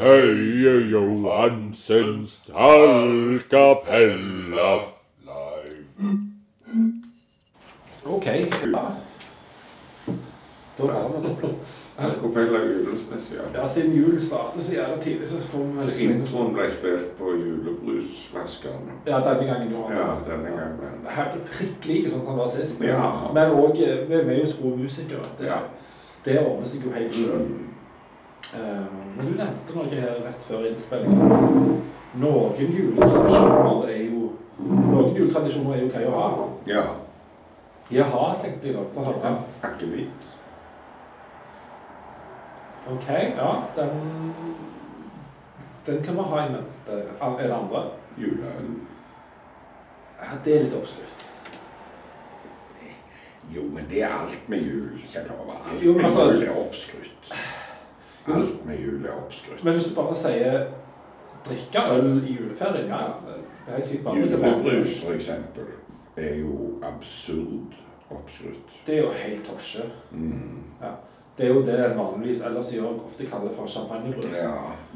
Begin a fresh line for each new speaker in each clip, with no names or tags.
Høie Johansens Talkapella live.
Ok. Da var vi på plass.
Alcopella julespesial.
Ja, siden julen starter så jævla tidlig, så får vi
Så introen ble spilt på julebrusvaskeren.
Ja, denne gangen gjorde han det.
Ja, denne gangen ble den.
Helt prikk like sånn som han var sist.
Ja.
Men òg Vi vi er jo gode musikere. Det,
Ja.
det ordner seg jo helt sjøl.
Mm.
Men du nevnte noe her rett før innspilling. at Noen juletradisjoner er jo Noen juletradisjoner er jo greie å ha.
Ja.
Jaha, tenkte jeg da. Få høre.
Akevitt.
Ok, ja. Den Den kan vi ha i mente. Er det andre?
Juleøl.
Ja, det er litt oppskrift.
Jo, men det er alt med jul. Kjenner du over. Alt
Jo, men
med
altså-
jul er oppskrytt. Alt med jul er oppskrytt.
Men hvis du bare sier 'drikke øl i juleferien', ja ja. Det er helt fint. Bare drikke vanlig øl.
Julebrus, for eksempel, er jo absurd oppskrytt.
Det er jo helt tosje.
Mm.
Ja. Det er jo det en vanligvis ellers i år ofte kaller for champagnebrus.
Ja. Det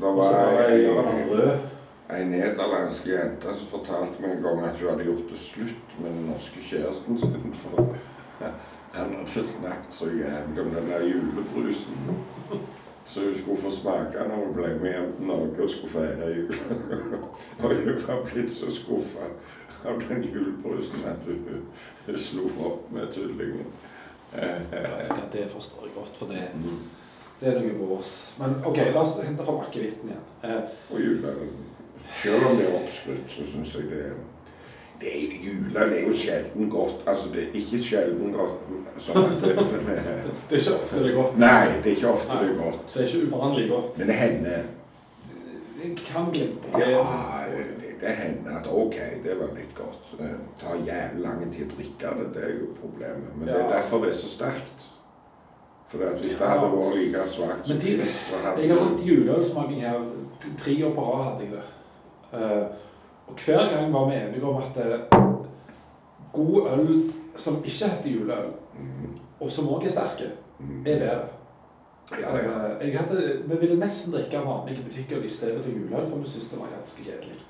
Og så
var
bare gjør han den
ei
rød.
Ei nederlandsk jente som fortalte meg en gang at hun hadde gjort det slutt med den norske kjæresten sin. For han hadde snakket så jævlig om den der julebrusen. Så hun skulle få smake når hun ble med hjem til Norge og skulle feire jul. Og hun var blitt så skuffa av den julebrusen at hun, hun slo opp med tullingen. Eh,
Ja, det forstår jeg godt, for det, det er noe vårs. Men OK, la oss hente fram akevitten igjen. Eh,
Og juleøl. Selv om det er oppskrytt, så syns jeg det er det er, Juleøl er jo sjelden godt. Altså, det er ikke sjelden godt sånn at det,
det, det er ikke ofte det er godt.
Nei, det er ikke ofte det er godt.
Det er ikke uvanlig godt.
Men det hender
Det kan glimte. Det,
ja, det, det hender at OK, det var litt godt. Det tar jævlig lang tid å drikke det, det er jo problemet. Men det er
Ja.
derfor det er så sterkt. For at hvis det hadde vært like svakt
Men
som
de-
det, så hadde
Jeg har hatt juleølsmaking her t- tre år på rad. hadde jeg det. Eh, og hver gang var vi enige om at eh, god øl som ikke heter juleøl,
Mm,
og som òg er sterke,
mm.
er bedre.
Ja, ja.
Eh, jeg hadde, vi ville nesten drikke vanlige butikker i stedet for juleøl, for vi syntes det var ganske kjedelig.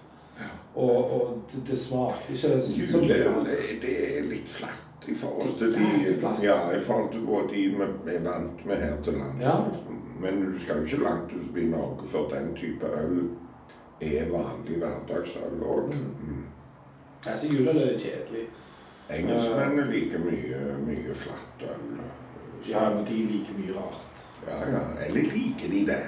Og, og det, det smakte ikke så- så
Juleøl
mye.
eh, det er litt flatt i forhold til
Det er
de
jævlig flatt.
Ja, i forhold til hva de vi er vant med her til lands.
Ja.
Men du skal jo ikke langt ut i Norge før den type øl er vanlig hverdagsøl òg. Mm.
Altså, juleøl er litt kjedelig.
Engelskmennene liker mye, mye flatt øl. Så-
Ja, men de liker mye rart.
ja, ja.
Mm.
Eller liker de det?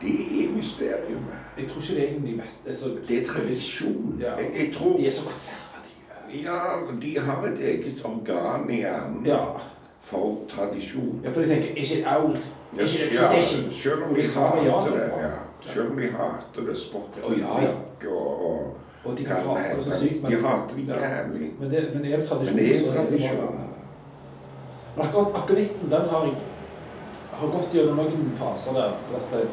Det er mysteriet.
Jeg tror ikke de egentlig vet det. Så,
Det er tradisjon.
Ja.
Jeg, jeg tror
de er så konservative.
Ja, de har et eget organ i hjernen
Ja.
for tradisjon.
Ja, for de tenker Is it old?
Ja,
Is it a
ja,
tradition?
selv om
Og
de
de svarer ja
hater
til
det,
det.
ja. Selv om de hater det, spotter
Å, ja, ja.
kritikk og, og
Og de kan
hva
hate det så
heter
sykt, men
De hater det
Ja.
jævlig.
Men, det, men er det tradisjon,
Men det er
så
tradisjon.
bare- Men akkurat akevitten, den har jeg har gått gjennom noen faser der. For at jeg,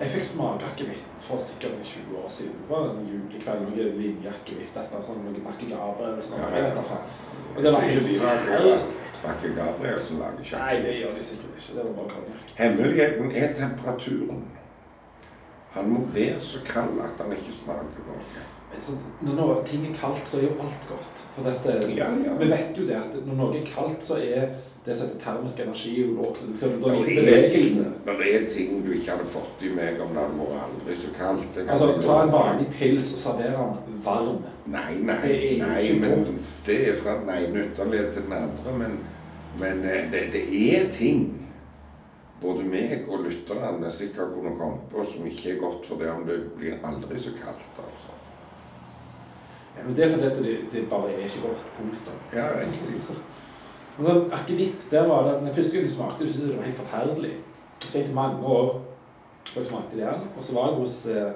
jeg fikk smake akevitt for sikkert 20 år siden. Det var en julekveld, noe linjeakevitt, et eller annet sånt, noe Bakke Gabriel eller sånt.
Ja, ja.
jeg vet da faen. Og det var
Jeg tror
helt
ikke de lager
helt-
Bakke Gabrielsen lager
Nei, det
sjakk.
gjør de sikkert ikke. Det var bare konjakk.
Hemmeligheten er temperaturen. Han må være så kald at han ikke smaker noe.
Men så- Når noe- ting er kaldt, så er jo alt godt. For dette,
Ja, ja.
Vi vet jo det at når noe er kaldt, så er det som heter termisk energi jo lågt. Det betyr at det er
Det
lite
er, ting,
bevegelse.
det er ting du ikke hadde fått i meg om det hadde vært aldri så kaldt. Jeg
Altså,
hadde-
ta en vanlig pils og servere den varm.
Nei,
Det
nei,
er jo
nei,
ikke
men
godt.
det er fra den ene ytterlighet til den andre. Men, men eh, det, det er ting både meg og lytterne sikkert kunne komme på som ikke er godt for det om det blir aldri så kaldt, altså.
Ja, men det er fordi at det, det bare er ikke godt. Punktum.
Ja, riktig.
Men sånn akevitt, der var det den første gang jeg smakte, syntes jeg det var helt forferdelig. Så gikk det mange år før jeg smakte det igjen. Og så var jeg hos eh,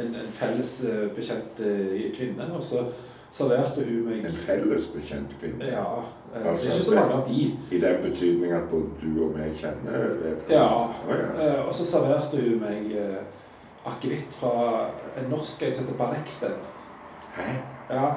en, en felles eh, bekjent eh, kvinne, og så serverte hun meg
En felles bekjent kvinne.
Ja. eh, Det er ikke så mange av de.
I den betydning at både du og meg kjenner vedkommende.
Ja.
Å, ja.
Eh, og så serverte hun meg eh, akevitt fra en norsk en som heter Bareksten.
Hæ?
Ja,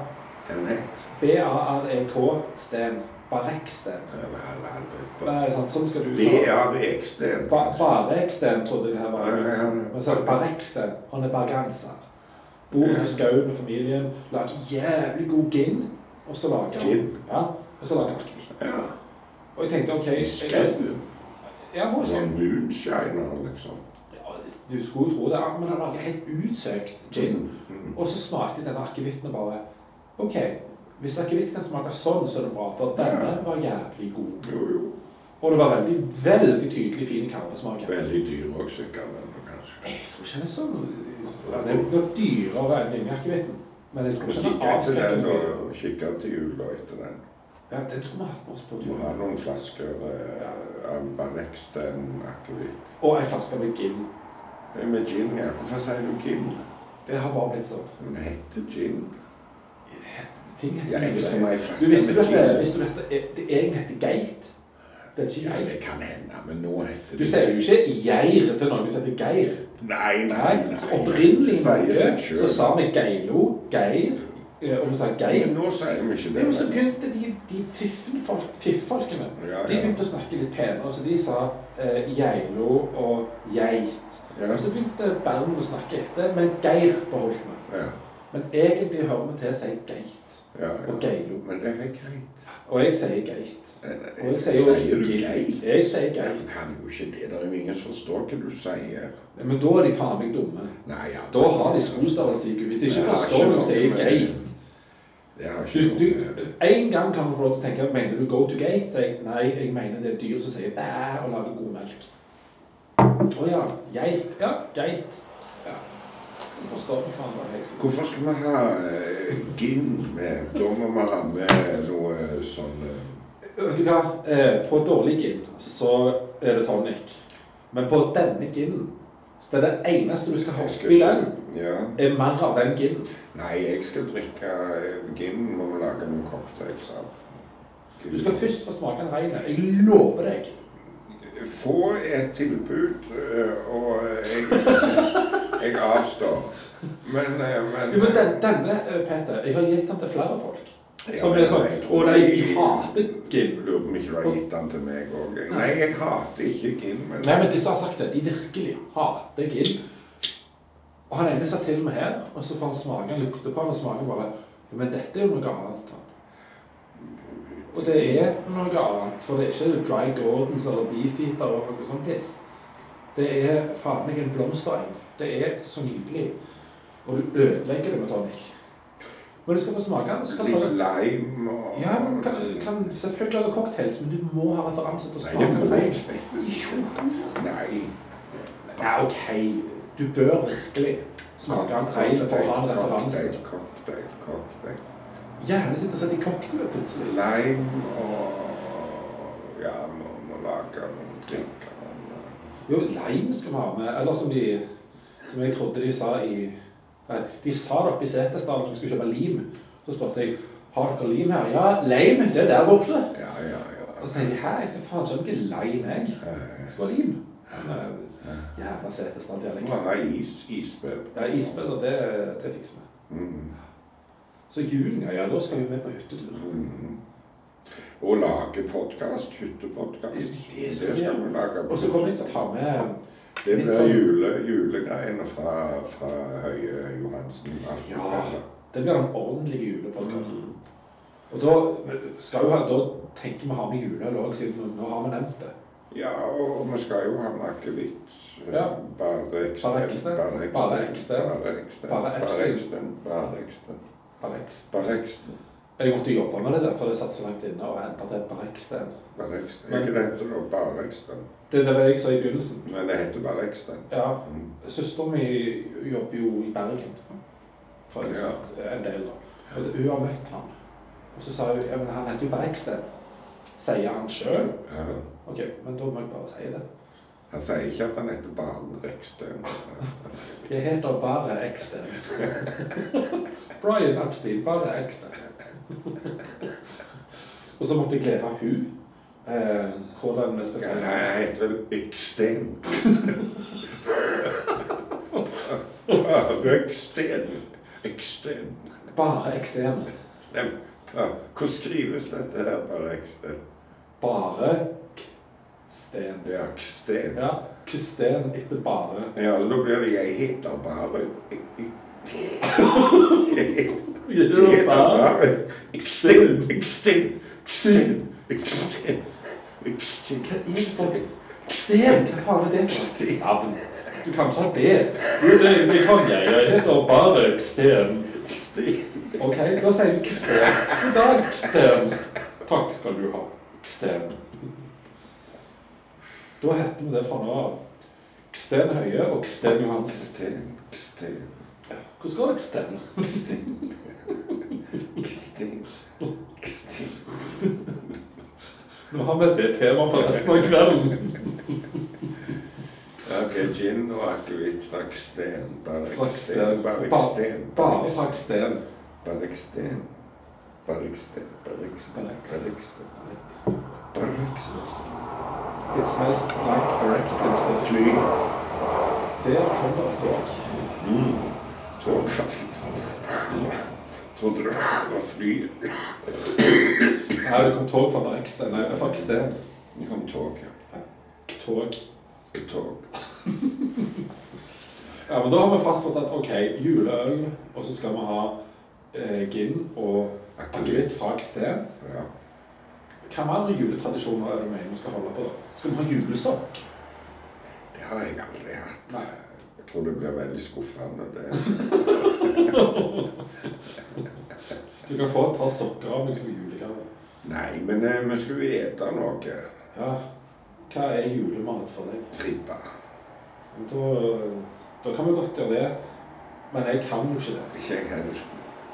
Den het
B-A-R-E-K-sten. E Bareksten.
Eller, eller, eller,
Nei, sant, sånn skal du uttale
B-A-V-X-D.
ba Bareksten trodde jeg det her var.
Ja, ja, ja.
Men så er det Bareksten. Han er bergenser. Bor ute i skauen med familien, lager jævlig god gin. Og så lager han
Gin?
Ja, og så lager han akevitt.
Ja.
Og jeg tenkte OK
I skauen.
Ja, hvor skal
Sånn moonshiner, liksom.
Ja, Du skulle jo tro det, ja, men han lager helt utsøkt gin.
Mm.
Og så smakte denne akevitten og bare OK, hvis akevitt kan smake sånn, så er det bra. For denne var jævlig god.
Jo, jo.
Og det var veldig, veldig tydelig fin karvesmak.
Veldig dyr òg, sikkert. eller kanskje.
Jeg tror ikke den er sånn ja, Den er nok dyrere enn linjeakevitten. Men jeg tror ikke den er
Kikke til den
avskrekkende. dyr.
og kikke til jula etter den.
Ja, den skulle vi hatt med oss på
Du
tur.
har noen flasker eh, Albanex, den akevitt.
Og ei flaske med gin.
Eh, Med gin, ja. Hvorfor sier du gin?
Det har bare blitt sånn.
Den heter gin.
Ting
Ja,
heter
jeg husker meg i flaske
Du visste du
med
at det,
gin.
visste du at det, det egentlig heter geit? Det er
Ja,
ikke geit.
det kan hende, men nå heter
Du
det
sier jo ikke Geir til noen som heter Geir.
Nei, nei,
Nei,
nei.
så Opprinnelig
Det
i
sier
Norge
seg
så
selv.
sa vi Geilo, Geir, eh, og vi sa
Men
Geir.
Nå sier vi ikke
Jo,
det.
men så
men-
begynte de, de fiffenfolk- fifffolkene
Ja, ja.
De begynte å snakke litt penere, så de sa eh, Geilo og Geit.
Ja.
Og så begynte Bergen å snakke etter, men Geir beholdt vi.
Ja,
Men egentlig hører vi til å si Geit
ja,
og
ja.
Geilo.
Men det er greit.
Og jeg sier Geit. Og jeg sier jo
Sier du geit?
Jeg sier
Ja,
Geit.
Du kan jo ikke det. Det er jo ingen som forstår hva du sier.
Men da er de faen meg dumme.
Nei, ja.
Da har de skostørrelse i IQ. Hvis de ikke
Det har
forstår noe, så er
noe
jeg
med-
geit.
Det har
Du,
ikke noe
du,
med-
en gang kan du få lov til å tenke Mener du go to gate? Så jeg, nei, jeg mener det er dyr som sier bæ og lager god melk. Å ja. Geit. Ja, geit. Ja. Du forstår meg faen hva jeg sier.
Hvorfor skal vi ha eh, gin med? Da må vi ha med noe eh, sånn eh,
Vet du hva? Eh, På dårlig gin så er det tonic. Men på denne ginen så det er det eneste du skal ha
jeg skal
oppi den,
ikke- Ja.
er mer av den ginen.
Nei, jeg skal drikke eh, gin når vi lager noen cocktails av.
Du skal først få smake den reine. Jeg lover deg.
Få et tilbud, eh, og jeg, jeg avstår. Men, eh, men
Jo, men den, denne, eh, Peter, jeg har gitt den til flere folk.
Ja,
Som
men
er sånn
jeg tror
Og de
jeg-
hater gin.
Jeg Lurer på om ikke du har gitt den til meg òg. Nei, jeg hater ikke gin, men
Nei, men disse har sagt det. De virkelig hater gin. Og han ene sa til meg her, og så får han smake, han lukter på den og smaker bare «Ja, Men dette er jo noe annet. Han. Og det er noe annet, for det er ikke Dry Gordons eller Beefeater eller noe sånt piss. Det er faen meg en blomstereng. Det er så nydelig. Og du ødelegger det med tonic. Men du skal få smake den. og så kan du
litt
lage-
lime og
Ja, men du kan, kan selvfølgelig lage cocktails, men du må ha referanse til å
Nei, det
smake
må
den
jeg
rein.
slett ikke. Nei.
Ja, ok. Du bør virkelig smake en rein for å ha en referanse.
Cocktail, cocktail, cocktail.
Jævlig så interessert i cocktail plutselig.
Lime og Ja, må, må lage noen drinker. men,
Jo, lime skal vi ha med. Eller som de Som jeg trodde de sa i Nei, de sa det oppe i Setesdal når vi skulle kjøpe lim. Så spurte jeg har dere lim her. Ja, lime, det er der borte.
eh, Ja, ja,
Og
ja.
så tenkte jeg hæ, jeg skal faen ikke ha noe lime, jeg.
Eh,
Jeg skal ha lim. Nei, Jævla Setesdal-dialekt.
Må ha is, isbed.
Ja, isbiller, det, det fikser vi.
Mm.
Så julen, ja, ja, da skal vi med på hyttetur.
Mm. Og lage podkast, hyttepodkast.
Det skal
Det
vi
skal
gjøre.
vi lage.
Og så kommer jeg til å ta med
Det
Litt
blir
sånn-
jule, julegreiene fra, fra Høie Johansen. alt det
Ja.
der.
Det blir den ordentlige
Mm.
julepodkasten. Og da skal jo ha, da tenker vi å ha med juleøl òg, siden nå- nå har vi nevnt det.
ja, og vi skal jo ha med akevitt.
Ja.
Bare eksten.
Bare eksten. Bare eksten. Bare
Bare
eksten.
eksten. Bare eksten.
Barrex.
Bare eksten.
Jeg måtte jobbe med det der, for det satt så langt inne og endte til Barrex-den.
Bare eksten.
Men-
Ikke det heter da bare eksten.
Det er det jeg sa i begynnelsen.
Men det heter bare eksten.
Ja,
Mm.
søsteren min jobber jo i Bergen. For
Ja.
en del, da. Og det- hun har møtt han. Og så sa hun ja, men han heter jo Barrex-den. Sier han sjøl?
Ja.
OK, men da må jeg bare si det.
eh, Han sier ikke at han heter bare eksten.
Det heter bare Eksten. Brian Epstein, bare Eksten. og så måtte jeg lære hun eh, hvordan vi skal si
Ja, nei,
det.
han heter vel Eksten. Bare eksten. Eksten.
Bare eksem.
Nei, Ja, Hvordan skrives dette her, bare Eksten?
Bare K-sten.
Ja, Ksten.
Ja, K-sten etter bare.
Ja, så da blir det 'jeg heter bare'. Jeg heter
Bare.
bare Eksten. Eksten. Eksten. Eksten. Eksten.
Hva er det for-
Eksten.
Sten, hva faen er det for
Ksten.
et navn? Du kan ikke ha det. Jo, det, det kan jeg. Jeg heter bare K-sten.
Eksten.
Ok, da sier vi K-sten. God dag, K-sten. Takk skal du ha, K-sten. Da heter vi det fra nå av. K-sten Høie og K-sten Johansen.
Eksten. Eksten.
Hvordan går det, K-sten?
Ksten. Ksten. Ksten.
Nå har vi det temaet for resten av kvelden.
Ok, gin og akevitt fra Ksten. Bare
Raksten.
Ksten. Bare Ksten.
Ba- Bare Raksten.
Bergsten. Bergsten. Bergsten. Bergsten. Bergsten.
It smells like Raksten til
Fly.
Der kommer et tog.
Mm. Tog. Trodde det var fly.
Her det kom tog fra Raksten. Nei, fra Raksten.
Det kom tog, ja.
Tog.
Et Tog.
Ja, men da har vi fastsatt at ok, juleøl, og så skal vi ha eh, gin og akevitt fra Raksten.
Ja.
Hva mer juletradisjoner er det vi egentlig skal holde på? da? Skal vi ha julesokk?
Det har jeg aldri hatt.
Nei.
Jeg tror det blir veldig skuffende. Det.
Du kan få et par sokker av meg som julegave.
Nei, men eh, vi skulle ete noe.
Ja. Hva er julemat for deg?
Ribba.
Men Da, da kan vi godt gjøre det, men jeg kan jo ikke det.
Ikke jeg heller.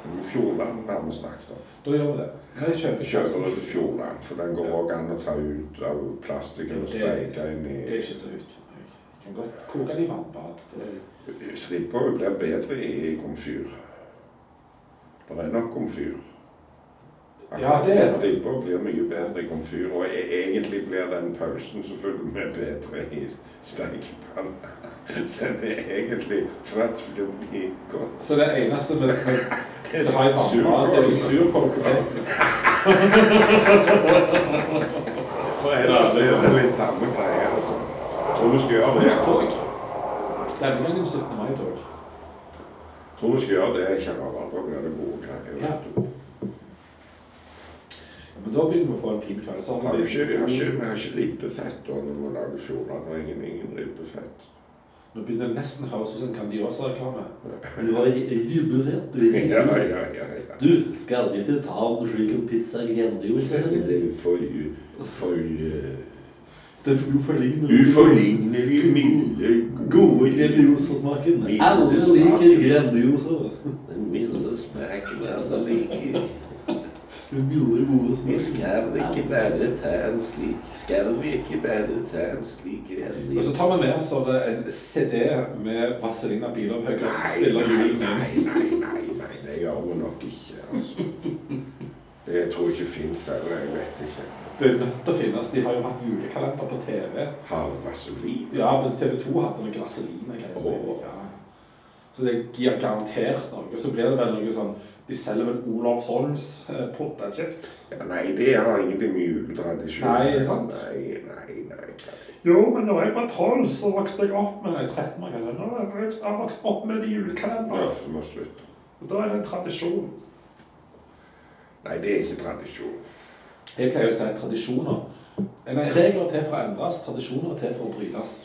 Men Fjordland har vi snakket om.
Da gjør vi det. Jeg kjøper
Vi kjøper
kjøper.
ut Fjordland, for den går òg an å ta ut av plastikken og
Det er-
steike inn
Det er ikke så høyt for meg. Jeg kan godt koke det i vannbad. Det er
i Ribba blir bedre i komfyr. Det er nok komfyr.
Ja, det er det.
Ribba blir mye bedre i komfyr, og e egentlig blir den pølsen som følger med, bedre i steikepanna. Så det er egentlig for at det skal bli godt.
Så det eneste med, med skal ha i vannbad, det er
Surkål.
surkål og poteter.
Og ellers er det litt tamme greier, altså. Tror du skal gjøre det?
Tog. Denne gangen 17. mai-tog.
Tror du skal gjøre det? Kjenner alle på blir det gode greier.
Ja.
vet du.
Men da begynner vi å få en fin kveld. Så
Har du ikke, vi har ikke, vi har ikke ribbefett da når vi lager fjordland? Og ingen, ingen ribbefett.
Nå begynner det nesten å høres ut som en Candiosa-reklame.
Ja, ja, ja. ja.
Du, skal vi til town slik en pizza grandiosa?
Det er for, for eh,
Det er uforlignende.
uforlignelig milde
Gode Grandiosa-smaken.
Milde
Alle
smaken.
liker Grandiosa.
Den milde smaken alle liker.
Den milde, gode
Vi
smaken.
skal ikke bare ta en slik Skal vi ikke bare ta en slik
Og så
grending?
tar vi med oss eh, en CD med Vazelina Bilopphøggers som spiller julen inn.
nei, nei, nei, nei, det gjør vi nok ikke. altså. Det tror jeg ikke fins heller. Jeg vet ikke.
Det er nødt til å finnes. De har jo hatt julekalender på TV.
Har vaselin?
Ja, men TV 2 hadde noe vaseline-greier.
Åh.
Ja. Så det er garantert noe. Og så blir det vel noe sånn De selger vel Olav Solms eh, potetchips?
Ja, nei, det har ingenting med juletradisjon
Nei, sant.
Nei, nei, nei. nei.
Jo, men da jeg var tolv, så vokste jeg opp med Nei, 13 år kanskje. Nå har jeg jeg vokst opp med det i
Nå
julekalenderen.
må vi slutte.
Og da er det en tradisjon.
Nei, det er ikke tradisjon.
Jeg pleier å si tradisjoner. Nei, regler er til for å endres, tradisjoner er til for å brytes.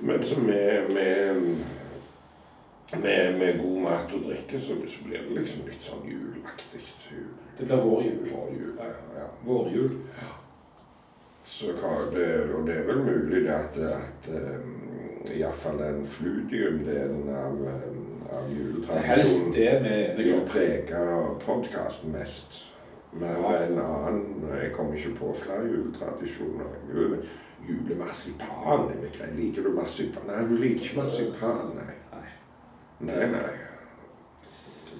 Men så med, med, med, med god mat og drikke, så så blir det liksom litt sånn julaktig. Jul,
Det blir vår jul.
vår jul, ja.
Vårjul.
Så hva- det, og det er vel mulig det at, at um, iallfall den fludium-delen av, um, av
Det er helst
juletradisjonen
det vi er enige
vil
om.
prege podkasten mest. Mer
Ja.
enn annen. Jeg kommer ikke på flere juletradisjoner. Jo, Julemarsipan er vel greit. Liker du marsipan? Nei, du liker ikke marsipan, nei.
Nei.
Nei, nei.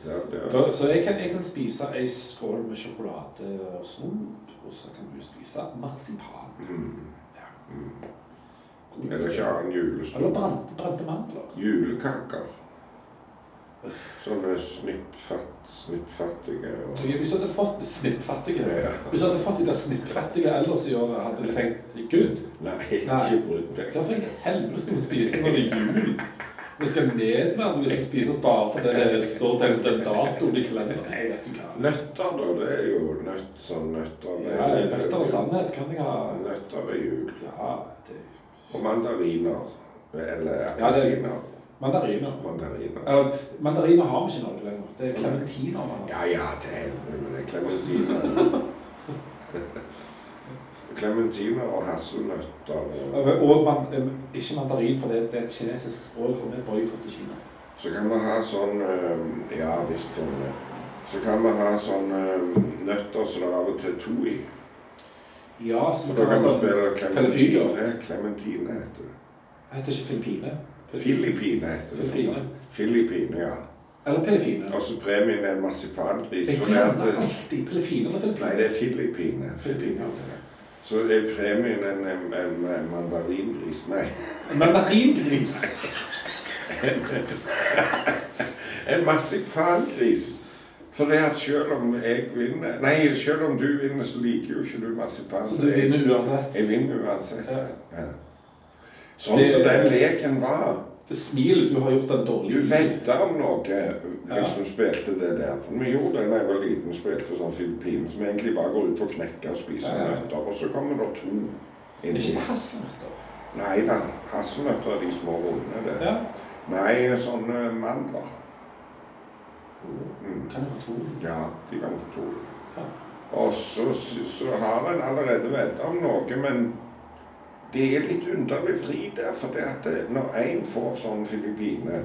Det, det,
Da, så jeg kan, jeg kan spise ei skål med sjokolade og snop, og så kan du spise marsipan.
Mm.
Ja.
Mm. Er det ikke annen
Eller
julestund?
brente, brente mandler.
Julekaker. Sånne snippfatt, snippfattige og
Hvis du hadde fått snippfattige
Ja.
Hvis du hadde fått de der snippfattige ellers i året, hadde du tenkt Gud,
Nei,
Nei.
ikke brydd meg.
hvorfor i helvete skal vi spise når det er jul? Vi skal nedverdige hvis vi spiser oss bare fordi det står den, den datoen i kalenderen. Nei, vet du hva.
Nøtter, da. Det er jo nøtt, sånn nøtter
Ja, nøtter og sannhet kan jeg ha.
Nøtter ved jul.
Ja, det
Og mandariner. Eller
Ja, det-
appelsiner.
Mandariner.
Mandariner.
Eller, mandariner har vi ikke i Norge lenger. Det er klementiner vi har.
Ja ja, til helvete med det. Klementiner. Klementiner og hasselnøtter og
Og man, em, ikke mandarin, for det, det er et kinesisk språk, og vi boikotter Kina.
Så kan vi ha sånn eh, Ja visst om det. Så kan vi ha sånn eh, nøtter som det er av og til to i.
Ja, så
Så
vi
da
kan
kan vi
altså
spille
pellefigur.
klementine. Klementine heter det.
Heter ikke Filippine?
Filippine heter det. for faen.
Filippine.
Filippine, ja.
Eller Pelefine.
Og så premien er en marsipangris.
Jeg
For det er
glemmer
at-
alltid Pelefine eller
Nei,
Filippine.
det er Filippine.
Filippine, ja.
Så er premien en, en, en, en mandaringris. Nei,
En Mandaringris.
en marsipangris. For det at selv om jeg vinner Nei, selv om du vinner, så liker jo ikke du marsipan.
Så du
jeg-
vinner uansett.
Jeg vinner uansett.
Ja.
Ja. Sånn
Det-
som den leken var.
Det smilet du har gjort den
Du
dårlige
vedda om noe
Ja.
hvis vi spilte det der. For vi gjorde det da jeg var liten, spilte sånn filippin, som egentlig bare går ut på å knekke og spise
Ja, ja.
nøtter. Og så kommer det to
Er
inn.
ikke det hasselnøtter?
Nei da, hasselnøtter er de små runde, det.
Ja.
Nei, sånne mandler. Mm.
Kan jeg ha to?
Ja, de kan få to.
Ja.
Og så, så har en allerede vedda om noe, men det er litt underlig fri der, for det at det, når en får sånn filippine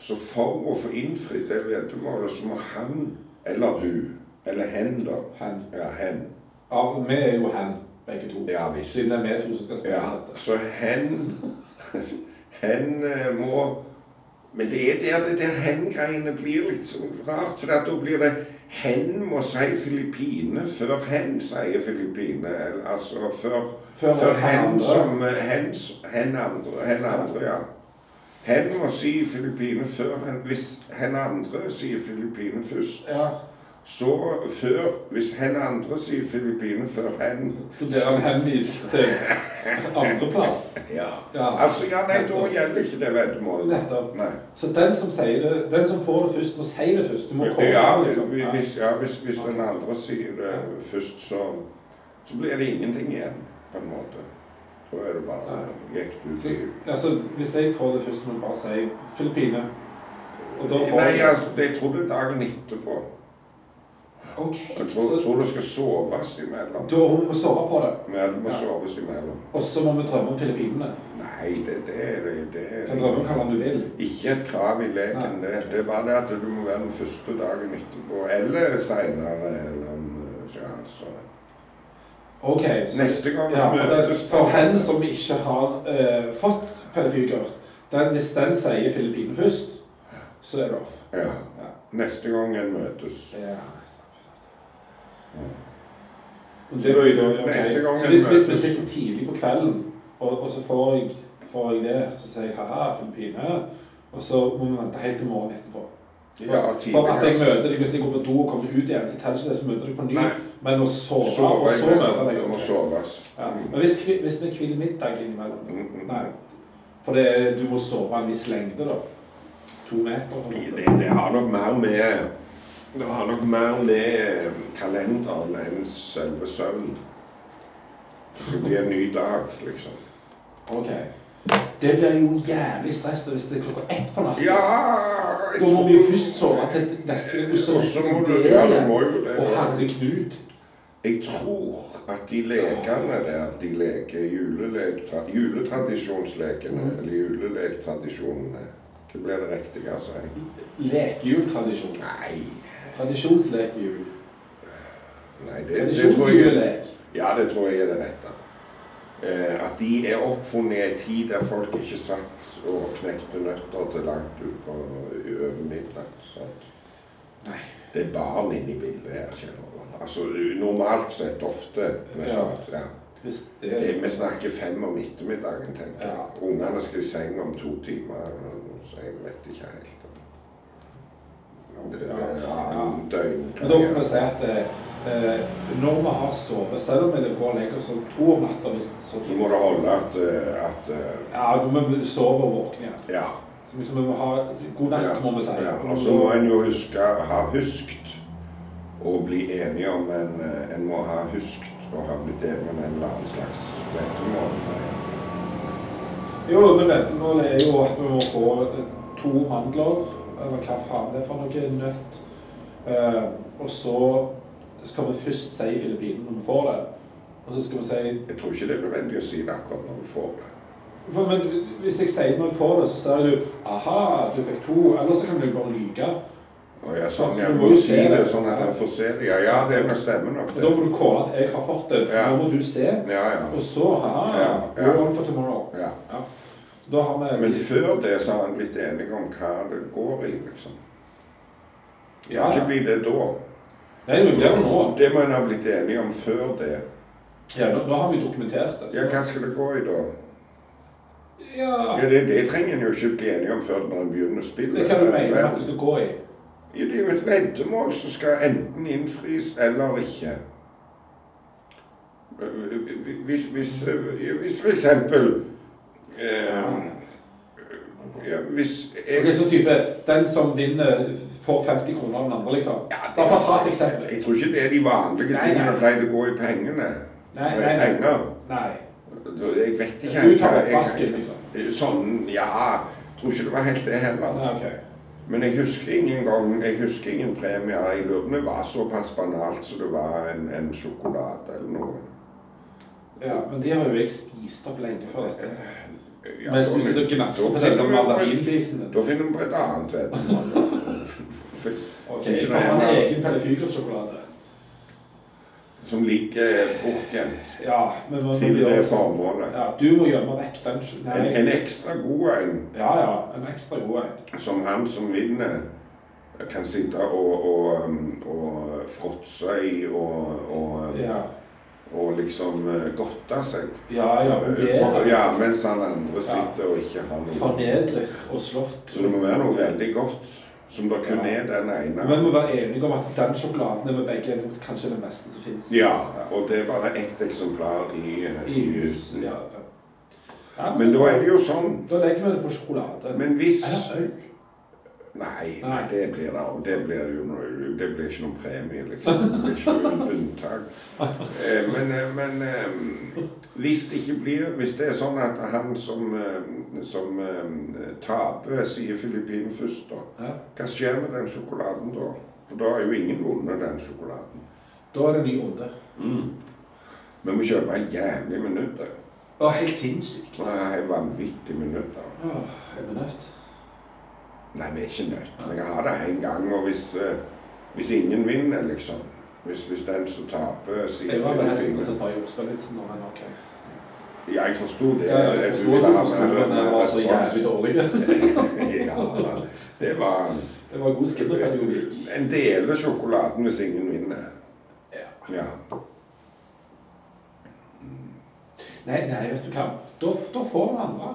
Så for å få innfridd det veddemålet, så må han eller hun eller hen, da
Hen.
Ja, hen.
Ja, vi er jo hen, begge to.
Ja visst.
Siden det er vi to som skal spille
Ja,
dette.
så hen Hen eh, må Men det er der det der hen-greiene blir litt så rart. For da blir det Hen må si Filippine før hen sier Filippine. eller Altså før,
Før
før,
hen
hen
andre.
som eh, hen, s- hen andre. Hen andre, ja. Hen må si Filippine før hen Hvis hen andre sier Filippine først,
Ja.
så før Hvis hen andre sier Filippine før hen
Så blir han henvist til andreplass.
Ja.
Ja.
Altså, ja, nei, da gjelder ikke det veddemålet.
Nettopp.
Nei.
Så den som, sier det, den som får det først, må si det først. Du må komme
Ja, hvis,
liksom. Ja.
hvis, ja, hvis, hvis den andre sier det
Ja.
først, så, så blir det ingenting igjen, på en måte. Da er det bare gikk du
Så,
til
altså, hvis jeg får det først, må jeg bare si Filippine. Og da får
Nei,
jeg-
altså, jeg tror det er dagen etterpå.
Ok.
Jeg tror,
Så
tror det skal soves imellom.
da må vi sove på det.
Men det må
Ja.
soves imellom.
Og så må vi drømme om Filippinene.
Nei, det, det er det, det
Du
er
kan drømme om hva land du vil.
Ikke et krav i leken,
Nei.
det. Det er bare det at du må være den første dagen etterpå, eller seinere, eller om, eh, ja, så.
Ok. Så,
Neste gang
ja,
vi
for, den,
møtes
for hen som ikke har eh, fått pellefigur, den, hvis den sier Filippinene først, så er det off.
Ja.
Ja.
Neste gang en møtes.
Ja.
Mm.
Og Det blir da,
Neste
ok.
gang
Så hvis,
vi
hvis vi
møtes-
sitter tidlig på kvelden, og, og så får jeg, får jeg det, så sier jeg haha, Filippine, og så må vi vente helt til morgenen etterpå.
Ja,
For at jeg
tidligere.
møter deg hvis jeg går på do og kommer ut igjen, så teller ikke det som møter deg på ny,
Nei.
men å sove,
Sove
og så møter
imellom.
jeg
Det
deg.
må
ok.
soves. Mm.
Ja. Men hvis, kvi- hvis vi kviller middag innimellom, nei, for det, er- du må sove en viss lengde da, to meter for
Det,
eksempel.
det har nok mer med det har nok mer med kalenderen enn selve søvnen. Det skal bli en ny dag, liksom.
Ok. Det blir jo jævlig stress da hvis det er klokka ett på natten.
Ja!
Da må vi jo først sove til neste gang.
Og så må du Ja, du må jo det.
Og herre Knut.
Jeg tror at de lekene der, de leker julelektra, juletradisjonslekene,
Mm.
eller julelektradisjonene Det blir det riktige å si.
Lekejultradisjon.
Nei,
Tradisjonslekejul.
nei det, det tror jeg
Tradisjonsjulelek.
Ja, det tror jeg er det rette. Eh, at de er oppfunnet i en tid der folk ikke satt og knekte nøtter til langt utpå over midnatt. sant?
Nei.
Det er barn inne i bildet her, kjenner du. Altså normalt sett ofte. men
Ja.
sant, ja.
Hvis det
Det, vi snakker fem om ettermiddagen, tenker jeg.
Ja.
Ungene skal i seng om to timer, så jeg vet ikke helt. Om det, det
Ja.
er annen døgn.
Men da får vi si at eh, når vi har sovet, selv om vi går og legger oss om to om natta hvis så,
Så må det holde at, eh, at eh,
Ja, når vi sover og våkner igjen.
Ja.
Så liksom, vi må ha god natt, må vi si.
Ja. Og så må en jo huske ha huskt å bli enige om en eh, En må ha huskt å ha blitt enig om en eller annen slags veddemål.
Jo, men veddemålet er jo at vi må få eh, to mandler, eller hva faen det er for noe nøtt. Eh, og så skal vi først si i Filippinene når vi får det. Og så skal vi si
Jeg tror ikke det er nødvendig å si det akkurat når du får det.
for, Men hvis jeg sier når jeg får det, så sier du aha, du fikk to. Eller så kan du bare lyve.
Og jeg sånn,
Så
jeg
du
må
må jo
si
se
det
det.
sånn at han får se det. Ja, ja det må stemme nok.
For da
Det.
må du kåre at jeg har fått det.
Ja.
Nå må du se.
Ja, ja.
Og så aha,
Ja, ja.
we're on for tomorrow.
ja.
Ja. Så da har vi
Men før det så har han blitt enig om hva det går i, liksom. Det
ja,
kan
ja.
ikke bli det da.
Nei, men det er jo nå.
Det må en ha blitt enig om før det.
Ja, nå, nå har vi dokumentert det.
Ja, hva skal det gå i da?
ja,
Ja, det, det trenger en jo ikke bli enig om før man begynner å spille.
Det kan du
Men-
mene at du skal gå i.
Ja, det er jo et veddemål som skal enten innfris eller ikke. Hvis- Hvis, hvis, ja, hvis for eksempel eh, ja, Hvis jeg,
Ok, så type, Den som vinner, får 50 kroner av den andre, liksom? Bare for å ta et eksempel.
jeg tror ikke det er de vanlige
Nei,
tingene
nei.
pleide å gå i pengene.
Nei,
Det
nei,
er
nei.
Penger.
nei.
Jeg vet ikke
Du tar
hva- jeg-
oppvasken, liksom?
Sånn, ja. Tror ikke det var helt det heller.
Nei, ok.
Men jeg husker ingen gang, jeg husker ingen premier. Jeg lurer på om det var såpass banalt som det var en, en sjokolade eller noe.
Ja, Men de har jo jeg spist opp lenge før dette.
Ja,
Mens
da-
du sitter og gnafser
da
på denne
finner vi på-
mandaringrisen din.
Da finner vi på et annet veddemål. For-
Ok,
Ikke
for han
det.
har egen Pelle Fugers-sjokolade.
Som ligger bortgjemt
Ja, men man
til
må
det
gjøre
formålet.
ja, Du må gjemme vekk den sj-
En,
Nei.
en ekstra god en,
Ja, ja. En ekstra god en.
som han som vinner, kan sitte og, og, um, og fråtse i og, og,
Ja,
og liksom eh, godte seg.
ja. ja,
På-
Vurdere.
Ja, mens han andre sitter og ikke har noe.
Fornedret og slått.
Så det må være noe veldig godt, som det kun
Ja.
er den ene.
Men vi må være enige om at den sjokoladen er vi begge enige om at kanskje er den beste som finnes.
Ja, og det er bare ett eksemplar i,
I hus.
huset.
Ja. ja. ja
Men da er det jo sånn.
da legger vi det på sjokolade.
Men hvis
Eller øl.
Nei, nei
Nei. Sånn.
det blir det aldri. Det blir jo noe, det blir ikke noen premie, liksom. Det blir ikke noe unntak. Eh, Men, eh, men eh, hvis det ikke blir Hvis det er sånn at han som, eh, som eh, taper, sier Filippinen først, da.
Ja.
Hva skjer med den sjokoladen da? For da har jo ingen vunnet den sjokoladen.
Da er det ny runde. Mm.
Vi må kjøpe en jævlig minutter.
Å, helt sinnssykt.
Det er helt vanvittig minutter.
Åh, er vi nødt?
Nei, vi er ikke nødt. Men jeg har det en gang, og hvis, eh, hvis ingen vinner, liksom. Hvis, hvis den som taper, eh, sier
Jeg var altså. vel helst til å
Filippinene.
se på jordspillitsen, men ok.
Ja, jeg forsto det.
Ja, jeg
Du
forstår
ville
at du
ha
forstår,
mer-
men
mer
jeg var så
respons.
jævlig dårlig.
altså, ja, da. det var
Det var god skinnerpedagogikk.
En deler sjokoladen hvis ingen vinner.
Ja.
Ja.
Nei, nei, vet du hva. Da, da får vi andre.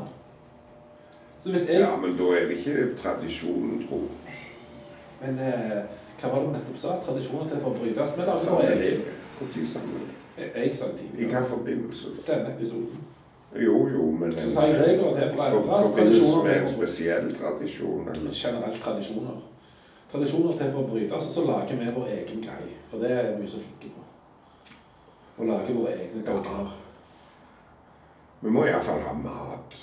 Så hvis jeg...
ja, men da er det ikke tradisjonen, tro.
Men eh, hva var det du nettopp sa? Tradisjoner til for å brytes med?
Samme
Samme
det.
Altså, jeg,
Når sa du det?
jeg, jeg sa det
I
tidligere.
hvilken forbindelse?
Denne episoden.
Jo, jo, men
Så sa jeg regler til for
For-
andres
forbindelse med en
tradisjoner.
spesiell tradisjon. eller?
Generelt tradisjoner. Tradisjoner til for å brytes, og så lager vi vår egen greie. For det er vi så flinke på. Å lage våre egne dogmer.
Vi må iallfall ha mat.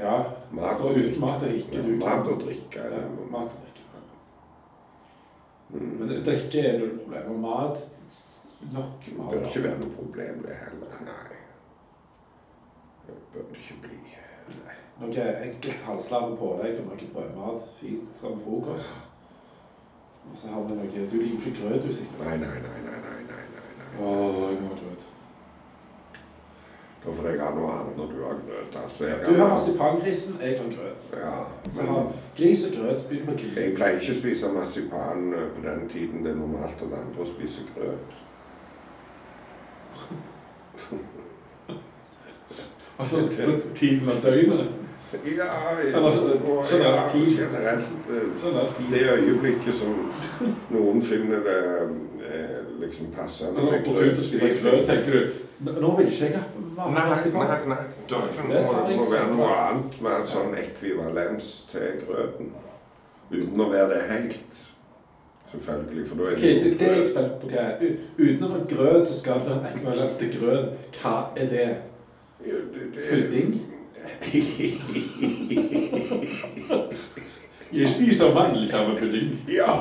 Ja.
Mat
For
og
uten
drikke.
mat og ikke
Ja,
du
mat og drikke.
Ja,
er det.
mat og drikke. Men drikke er null problem. Og mat Nok
Det bør
mat.
ikke være noe problem, det heller. Nei. Det bør det ikke bli.
Noe enkelt halvslave pålegg og noe brødmat fint som frokost. Og så har vi noe Du liker ikke grøt, du sikkert?
Nei, nei, nei, nei, nei, nei, nei, nei.
Åh, jeg må ha grøt.
Da får jeg ha noe annet når du har grøt. Altså, jeg
Du har marsipangrisen, jeg har grøt.
Ja,
Så
men
har gris og grøt begynn med gris.
jeg pleier ikke å spise marsipan eh, på den tiden det er normalt å andre å spise grøt.
Altså på tiden av døgnet.
Ja,
Eller så-
og-
sånn
ja,
er tid.
generelt. eh,
Sånn er tid.
Det øyeblikket som noen finner det eh, liksom passende
Når du er på tur til å spise klø, tenker du "Nå- Nå vil ikke jeg ha
Nei,
varm
nei,
marsipan."
nei, nei. Døden
Det
må,
tar jeg
må
ikke.
være noe annet med en sånn ekvivalens til grøten. Uten å være det helt. Selvfølgelig, for da er
Ok, det, det er jeg
grøt.
spent på. hva er. U- Utenom en grøt, så skal det være ekvivalent til grøt. Hva er det?
Ja, det- det-
Pudding? Jeg spiser mandelkjernepudding.
ja,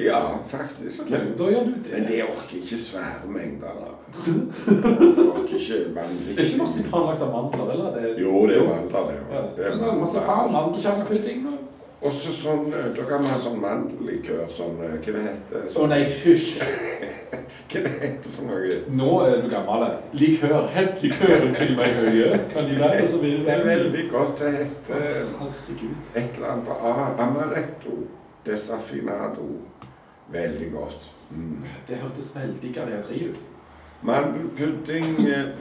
ja, faktisk.
Ok, da gjør du det.
Men det orker ikke svære mengder av. Jeg orker ikke
Det er ikke
vanvittig.
marsipan lagd av mandler, eller? Det er-
Jo, det er mandler, det.
Ja,
også.
så det
Det er
er marsipan,
mandler.
mandelkjernepudding og-
Og så sånn, eh, da kan vi ha sånn mandellikør, sånn, eh, hva det heter?
Å
Sånn,
nei, fysj!
hva det heter for noe?
Nå er du gammel. Likør. Hent likøren til meg, Høie. Kan de være så
Det er
videre?
veldig godt. Det heter
Herregud.
et eller annet på A. Amaretto. Desafinado. Veldig godt. Mm.
Det hørtes veldig geriatri ut.
Mandelpudding, eh,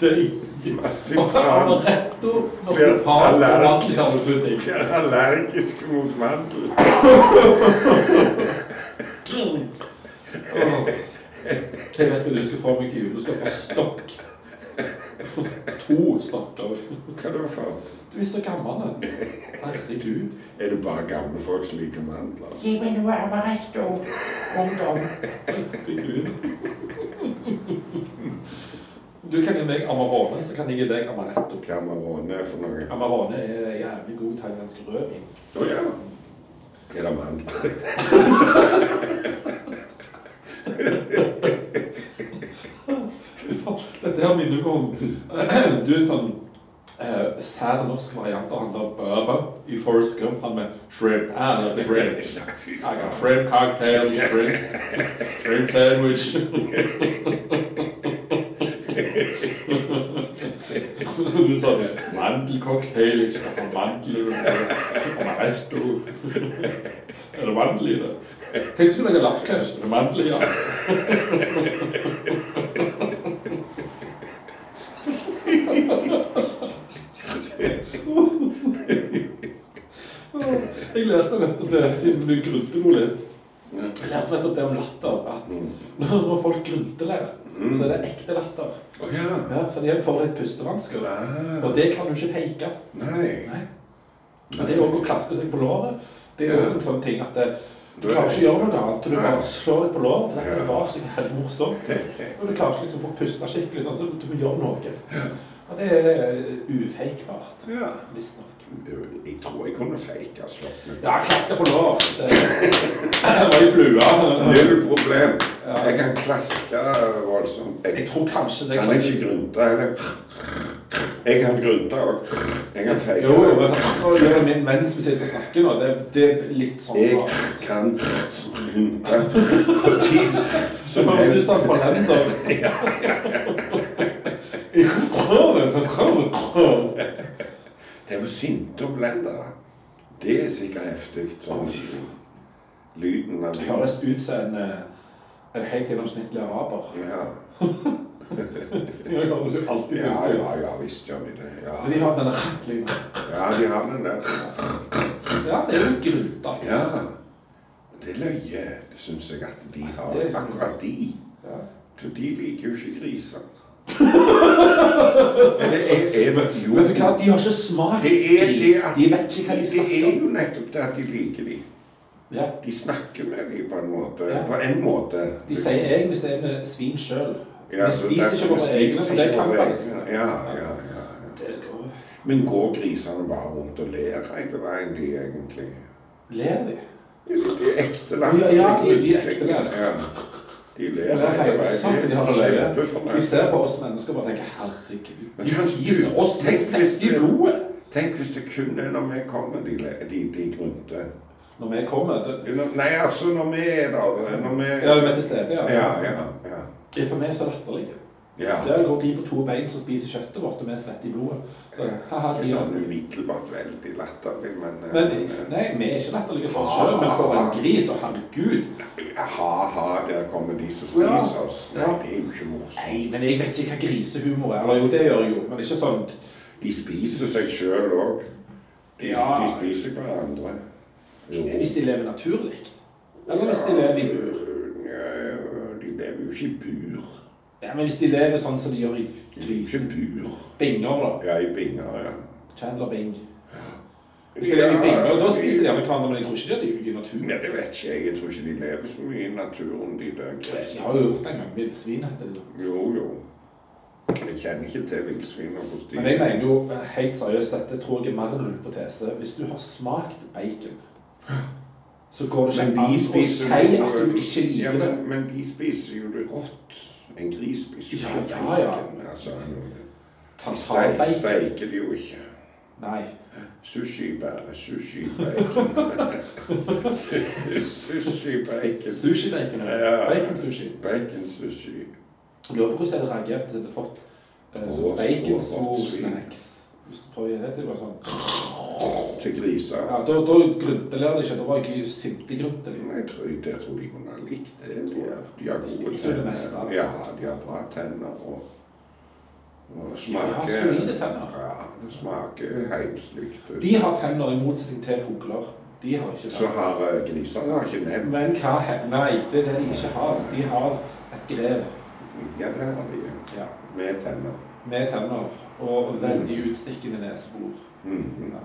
Det er
marsipan
Amaretto,
Blir
marsipan og
allergisk.
mandelkjernepudding.
Jeg er allergisk mot mandel.
Åh. Jeg vet hva du skal få meg til jul. Du skal få stokk. To stokker.
Hva da for?
Du er så gammel. da. Herregud.
Er det bare gamle folk som liker altså? mandler?
Gi meg noe amaretto, ungdom.
Herregud. Du kan gi meg Amarone, så kan jeg gi deg Amaretto.
Camarone for noe?
Amarone er jævlig god thailandsk rødvin.
Å ja. Er det mandler?
Dette her minner meg om Du er en sånn eh, sær norsk variant av han der Bubba i Forest Gump. Han med shrimp Ah, and shrimp.
Fy
I got
faen.
shrimp cocktail, shrimp, shrimp sandwich. Du sa det. Mandelcocktail. Jeg skal ha mandler og amaretto. Er det mandel i det? Tenk skulle lage lapskaus. Er det mandel i det? Jeg lærte nettopp det siden du grunteler litt. Jeg lærte nettopp det om latter. At når folk grunteler, så er det ekte latter.
Å ja.
Ja, for de får litt pustevansker.
Ah,
Og det kan du ikke fake.
Nei.
Nei. Men det er òg å klaspe seg på låret. Det er jo en sånn ting at det, du
Da er
klarer ikke å
det-
gjøre noe annet. Du bare
Nei.
slår deg på låret, for det
Ja.
var så helt morsomt. Og du klarer ikke liksom å få puste skikkelig, sånn, så du må gjøre noe. Og det er ufeikbart.
Ja.
Visstnok.
Jeg tror jeg kunne fake og slått meg.
Ja, klaske på lår. Det det var i flua.
Null problem. Jeg kan klaske voldsomt.
Jeg
Jeg
tror kanskje det
kan ikke grunte. eller- Jeg kan grunte òg. Jeg kan fake.
Jo, jo, men
også.
sånn, nå gjør jeg min mens vi sitter og snakker nå. Det, det er litt sånn
Jeg
rart.
kan grunte på tid
Så
som
bare synes
helst.
han på hender. Jeg tror det, for jeg tror det.
Det er jo sinte blendere. Det er sikkert heftig. Sånn. Lyden av
Det høres ut som en, eh, en helt gjennomsnittlig araber.
Ja,
Jeg høres jo alltid sånn
ja,
ut.
ja, ja visst gjør de det.
Men
Ja.
De har denne rakklyden.
ja, de har den der.
Ja, det er jo grunta.
Ja. Men Det er løye, det syns jeg at de har.
Det er liksom-
Akkurat de.
Ja.
For de liker jo ikke griser. Men det er, er det, jo,
Vet du hva, de har ikke smakt
det er det
gris.
at
De vet ikke hva de snakker
Det
om.
er jo nettopp det at de liker de.
Ja.
De snakker med de på en måte.
Ja.
På en måte.
De sier jeg, vi sier vi svin sjøl.
Ja,
vi
så
spiser
derfor
ikke våre egne,
spiser
for det
ikke
kan
våre
bæsje.
egne. Ja, ja, ja, ja.
Det er grovt.
Men går grisene bare rundt og ler hele veien, de egentlig?
Ler de?
De er ekte latter.
Ja, ja, de- de er ekte latter.
Ja. De
Det
ler
er
hele
helt sant,
veien.
de har det løye.
kjempefornøyd.
De ser på oss mennesker og bare tenker 'herregud'.
Men
De
tenk
spiser
du-
oss med
tenk hvis
svett i
du-
blodet.
Tenk hvis det kun er når vi kommer, de, le- de, de grunter.
Når vi kommer det-
Nei, altså når vi er der. Når vi
Ja, vi er til stede, ja.
Ja, ja, ja.
Det er for meg så latterlig.
Ja.
Der går de på to bein som spiser kjøttet vårt, og vi svetter i blodet. Så, haha,
Ikke
de har...
sånn umiddelbart veldig latterlig, men, eh,
Men,
eh,
nei, vi er ikke latterlige for oss selv, men for en gris, og herregud.
Ha-ha, eh, der kommer de som
Ja.
spiser oss. Nei,
Ja.
det er jo ikke morsomt.
Nei, men jeg vet ikke hva grisehumor er. Eller jo, det gjør jeg jo, men ikke sånn
De spiser seg sjøl òg. De,
Ja.
de spiser hverandre. Jo.
Hvis de lever naturlig. Eller hvis de lever i bur.
Ja, De lever jo ikke i bur.
Ja, men hvis de lever sånn som de gjør i
De lever ikke i bur.
grisebinger, da.
Ja, i binger, ja.
Chandler Bing. Hvis de lever i binger, da spiser de gjerne hverandre, men jeg tror ikke de er ute i naturen.
Ja, det vet ikke jeg. Jeg tror ikke de lever så mye i naturen, de der
Jeg
grisene.
har jo gjort det en gang med svin. heter det.
Jo, jo. Jeg kjenner ikke til villsvin og hvordan de
Men jeg mener jo eh, helt seriøst, dette tror jeg er mer enn en hypotese. Hvis du har smakt bacon, så går det
Men
ikke an
de
å
spiser
si
jo-
at du ikke liker
Ja,
det.
men, men de spiser jo det rått. En gris spiser jo
Ja,
ikke
ja, ja.
bacon, Altså,
Tartar
de
bacon.
steiker det jo ikke.
Nei.
Sushi bare. Sushi bacon. Su- sushi bacon.
Sushi-bacon.
Ja.
Bacon-sushi.
Bacon sushi.
Lurer på hvordan jeg hadde reagert hvis jeg hadde fått eh, sånn
Rå- rå- rå-
bacon-snacks. Hvis du prøver det til, bare sånn.
Til griser.
Ja, da, da grunteler det ikke. Da var jeg ikke sinte grunteler.
Jeg tror, jeg tror de kunne ha likt det. tror jeg. De har
De
gode
spiser jo det meste, da.
tenner. Ja, de har bra tenner og, og smaker
Ja, solide tenner.
Ja, det smaker heimslykt.
De har tenner i motsetning til fugler. De har ikke
Så
tenner.
har eh, grisene har ikke nevnt
Men hva he- Nei, det er det de ikke har. De har et grev
Ja, det har de.
ja.
Med tenner.
med tenner og veldig
Mm.
utstikkende nesebor.
Mhm.
Ja.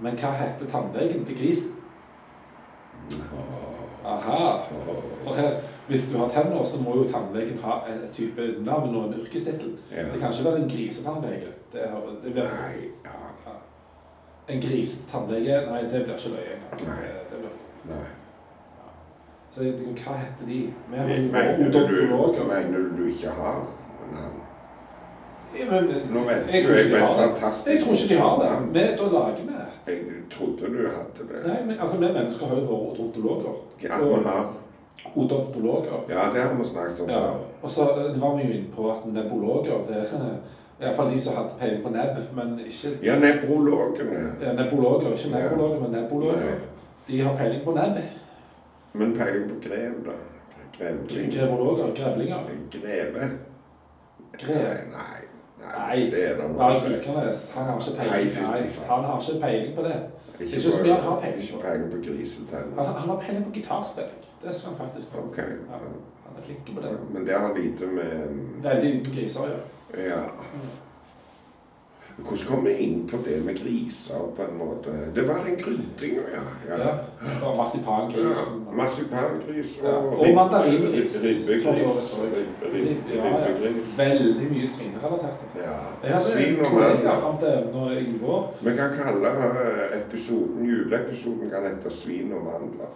Men hva heter tannlegen til grisen?
Åh,
Aha.
åh.
For her, hvis du har tenner, så må jo tannlegen ha en type navn og en yrkestittel.
Ja.
Det kan ikke være en grisetannlege. Det, har- det blir for
Nei, ja.
En grisetannlege Nei, det blir ikke løye engang.
Nei.
Det- Det blir for...
Nei.
Så jeg tenker, hva heter de? Vi har jo
Mener du,
odontologer.
mener du du ikke har navn?
Ja, men-
Nå venter
Jeg
du
tror
jeg
ikke de
vet
har det.
fantastisk
Altså, Jeg tror ikke de har det.
navn.
Vi, da lager vi et.
Jeg trodde du hadde det.
Nei, men altså, vi mennesker har jo vært odontologer.
Ja, vi har.
Og odontologer.
ja det har vi snakket om
Ja.
før.
Og så eh, var vi jo inne på at nebologer det er Iallfall de som hadde peiling på nebb, men ikke
Ja, nebrologene.
ja, nebologer. Ikke
Ja.
nebologer, men nebologer.
Nei.
De har peiling på nebb.
Men peiling på grev, da. Grevling.
Grevologer. Grevlinger.
Greve?
Grev.
Nei, nei,
Nei,
det er det noe
Varg Vikernes. Han har ikke
Nei,
peiling,
fy
nei,
faen.
han har ikke peiling på det. Ikke så
på-
mye han har peiling på.
Ikke peiling på grisetenner.
Han, han har peiling på gitarspilling. Det skal han faktisk ha.
Ok.
Ja, han er flink på det.
ja. Men det har lite med
Veldig liten griser å gjøre.
Ja. Hvordan kom vi inn på det med griser, på en måte? Det var den gryntinga, ja.
Ja. Og marsipangrisen.
Ja, Marsipangris
Ja,
og,
og mandaringris.
Ribbegris.
For så vidt, for vidt.
Ribbe-
Ja, ja.
Ribbegris.
Veldig mye svinerelatert.
Ja.
Jeg hadde
Svin
en
og
kollega
mandler.
fram til når jeg var
Vi kan kalle eh, episoden, juleepisoden kan hete 'Svin og mandler'.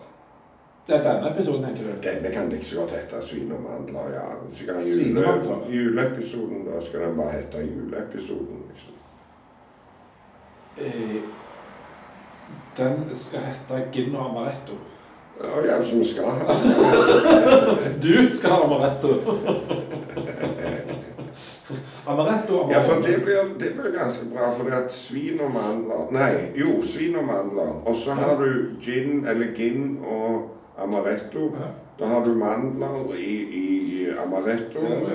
Det er denne episoden, tenker du?
Denne kan like så godt hete 'Svin og mandler', ja. Så kan
Svin og
jule,
mandler.
juleepisoden da skal den bare hete 'Juleepisoden'. Liksom.
Eh, Den skal hete Gin og Amaretto.
Ja, ja, som skal ha
Du skal ha Amaretto! Amaretto,
Ja, for
Amaretto.
det blir, det blir ganske bra, for det at svin og mandler Nei, jo, svin og mandler. Og så har du gin, eller gin og amaretto.
Ja.
Da har du mandler i, i amaretto.
Ser du?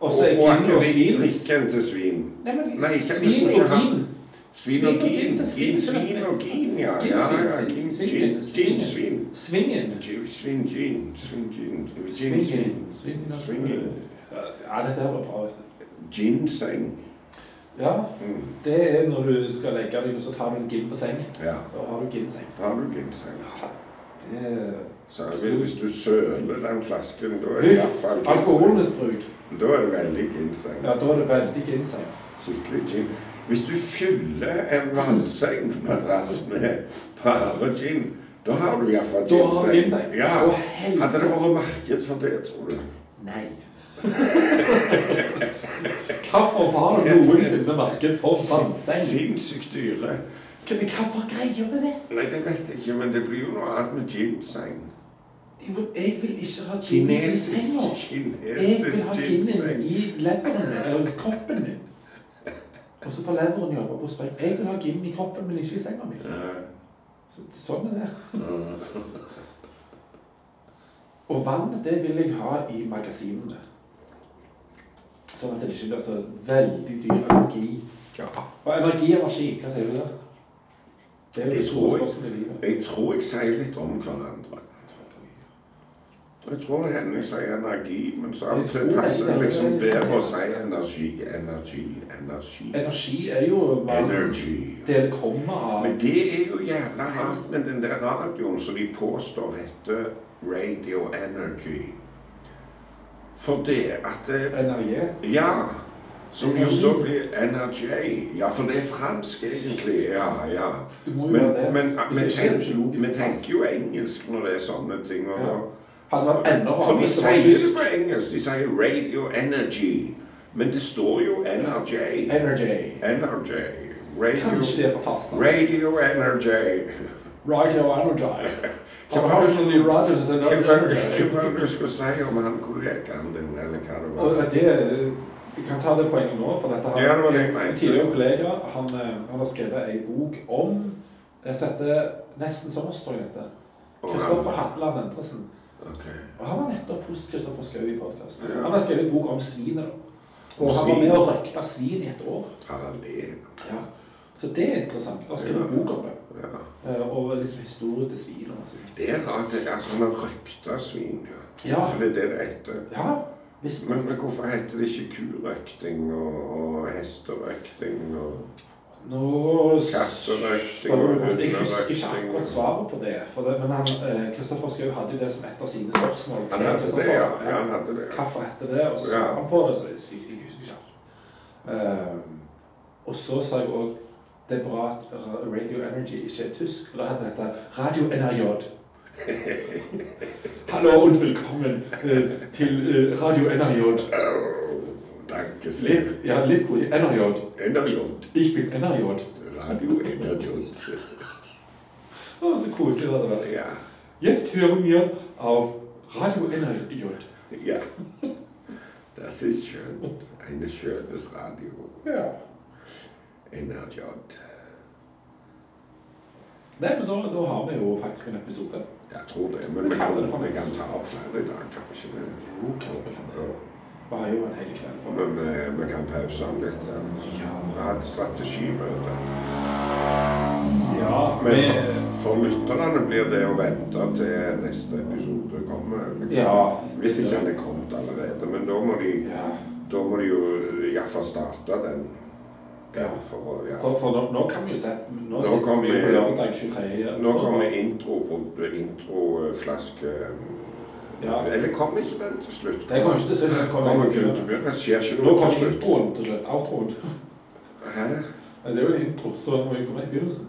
Og så er gin og svin.
drikken til svin.
Nei, men
Nei, ikke-
svin og gin.
Svin og gin.
til
Gin, svin og gin, ja. ja, ja.
Gin,
Gin,
svin,
gin,
svin.
gin, svin.
Svingen.
Gin, Svin, gin, svin, gin, gin, svin.
Svingen. Svingen.
Svingen.
Ja, dette her var bra, vet du.
Ginseng.
Ja,
Mm,
det er når du skal legge deg, og så tar du en gin på sengen.
ja,
Da har du ginseng.
da har du ginseng.
Det
Så jeg vil, hvis du søler den flasken, da er
Huff,
det iallfall ginseng.
alkoholmisbruk.
Da er det veldig ginseng.
Ja, da er det veldig ginseng.
Skikkelig gin. Hvis du fyller en vannseng madrass med bare gin, da har du iallfall
Da har du
ginseng.
ginseng.
Ja.
Å, helvete.
Hadde det vært marked for det, tror du?
Nei. Hvorfor har du noensinne merket for
Sin-
vannseng?
Sinnssykt dyre.
Hva hva var greia med det?
Nei, det vet jeg ikke, men det blir jo noe annet med ginseng.
Jeg, må, jeg vil ikke ha gin i
Kinesisk,
senga. Jeg vil ha
kinesisk
ginnen
ginseng.
i leveren min, eller kroppen min. Og så får leveren jobbe på spreng. Jeg vil ha gin i kroppen, men ikke i senga mi.
Ja,
Så, sånn er det.
ja.
Og vann, det vil jeg ha i magasinene. Sånn at det ikke blir så veldig dyr energi.
Ja.
Og energi er maskin, hva sier du der? Det er jo
Det
det store
tror jeg.
spørsmålet i livet.
Jeg tror jeg sier litt om hverandre. Jeg tror Henning sier energi, men så av og til passer det liksom bedre å si energi, energi, energi.
Energi er jo bare
Energy.
det det kommer av.
Men det er jo jævla rart med den der radioen som de påstår heter Radio Energy. For det at det,
Energi.
Ja. Som jo da blir Energy. Ja, for det er fransk egentlig. Ja, ja.
Det må jo
Men,
være det.
men,
Hvis
men,
ikke er det jo ikke
tenk,
logisk
vi tenker jo engelsk når det er sånne ting. Og,
Ja. Hadde vært enda
For de
hvis det var
sier det
tysk.
på engelsk. De sier Radio Energy. Men det står jo Energy.
Energy.
Energy. Radio
Kanskje det er for tastaen.
Radio Energy.
Radio Energy. Har du
Hvem-
hørt om de radio som
Hva
heter
var
Energy?
hva var det du skulle si om han kollegaen din, eller hva det
Og
var?
det, jeg kan ta det poenget nå, for dette har
Ja, det var det jeg mente.
en tidligere kollega han, eh, han har skrevet ei bok om dette eh, nesten sommerstrøy, dette. Kristoffer Hatland Endresen.
Ok.
Og han var nettopp hos Kristoffer Schou i podkasten.
Ja.
Han har skrevet en bok om svinet. da. Og
Om
han var
svin?
med og røkta svin i et år.
Har han det?
Ja. Så det er interessant. Han skrev en
Ja.
bok om det.
Ja.
eh, Og liksom historien til svin. og masse sånt.
Det er rart. det- Altså, han har røkta svin, ja.
Ja.
For det er det det heter.
Ja, visst.
Men, men hvorfor heter det ikke kurøkting og, og hesterøkting og
Nå
Katterøkting
spør
og
du godt. Jeg husker ikke
hunderøkting.
akkurat svaret på det. For det men han, eh, Kristoffer Schou hadde jo det som et av sine spørsmål.
Han hadde det, ja. ja han hadde det. ja.
Hvorfor heter det? Og så sa
Ja.
han på det, så jeg husker, jeg husker ikke alt. Ehm, og så sa jeg òg det er bra at Ra- Radio Energy ikke er tysk, for da hadde det hett Radio NRJ. Hallo og velkommen eh, til eh, Radio NRJ.
Åh, Danke sehr.
Litt, ja, litt god til NRJ.
NRJ.
Ich bin NRJ.
Radio NRJ.
Å, så koselig det hadde vært.
Ja.
Jetzt hören wir auf Radio NRJ.
Ja. Das ist schön. Ein schönes Radio.
Ja.
NRJ.
Nei, men da, da har vi jo faktisk en episode.
Jeg tror det. Men vi kan, vi kan ta opp flere i dag, kan vi ikke det?
Jo, klart vi kan det. Vi har jo en hel kveld for meg.
Men vi, vi kan pause den litt. Ja. Vi
Ja.
har hatt strategimøte.
ja
Men for, for lytterne blir det å vente til neste episode kommer. Liksom.
Ja.
Hvis ikke den er kommet allerede. Men da må de,
ja.
da må de jo iallfall starte den.
Ja.
For, å- ja.
For, for nå, nå kan vi jo se Nå,
Nå
sitter
kommer
vi jo på
vi-
lørdag 23.
Nå kommer introflaske intro, eh, flaske,
Ja.
Eller kom ikke den til slutt?
Det kommer ikke til slutt. Den
Kommer
kommer
kun til begynnelsen. Det skjer ikke
Nå
noe til
kommer
slutt.
introen til slutt. Outroen.
Hæ?
Men Det er jo en intro, så den må jo komme i begynnelsen.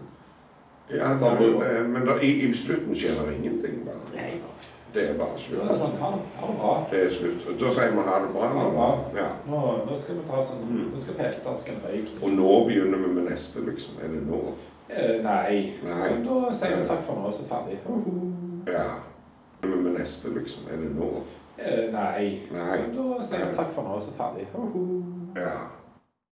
Ja,
Sa
men-
bror.
men men da, i, i slutten skjer det ingenting. bare. Det er bare
Da er det
slutt.
sånn, ha det- ha det bra.
Det er slutt. Da sier vi ha det bra.
Ha det
Nå.
bra.
Ja.
Nå, nå skal vi ta sånn Nå skal pekestasken røyke.
Og nå begynner vi med neste, liksom. Er det nå?
Eh, nei.
Nei.
Men Da sier vi takk for nå, og så ferdig. Hoho.
Ja. Begynner vi med neste, liksom. Er det nå?
Eh, nei.
Nei.
Men Da sier vi takk for nå, og så ferdig. Hoho.
Ja.